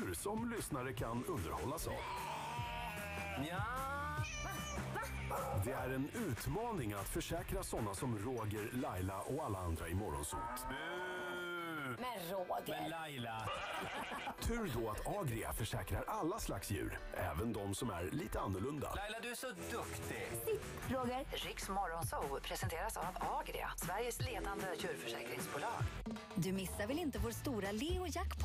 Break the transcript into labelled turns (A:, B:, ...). A: du som lyssnare kan underhållas av. Ja. Det är en utmaning att försäkra sådana som Roger, Laila och alla andra i Morgonzoo.
B: Men Roger.
C: Laila.
A: Tur då att Agria försäkrar alla slags djur, även de som är lite annorlunda.
C: Laila, du är så duktig.
B: Roger.
D: Riks Morgonzoo presenteras av Agria, Sveriges ledande djurförsäkringsbolag.
B: Du missar väl inte vår stora Leo-jackpot?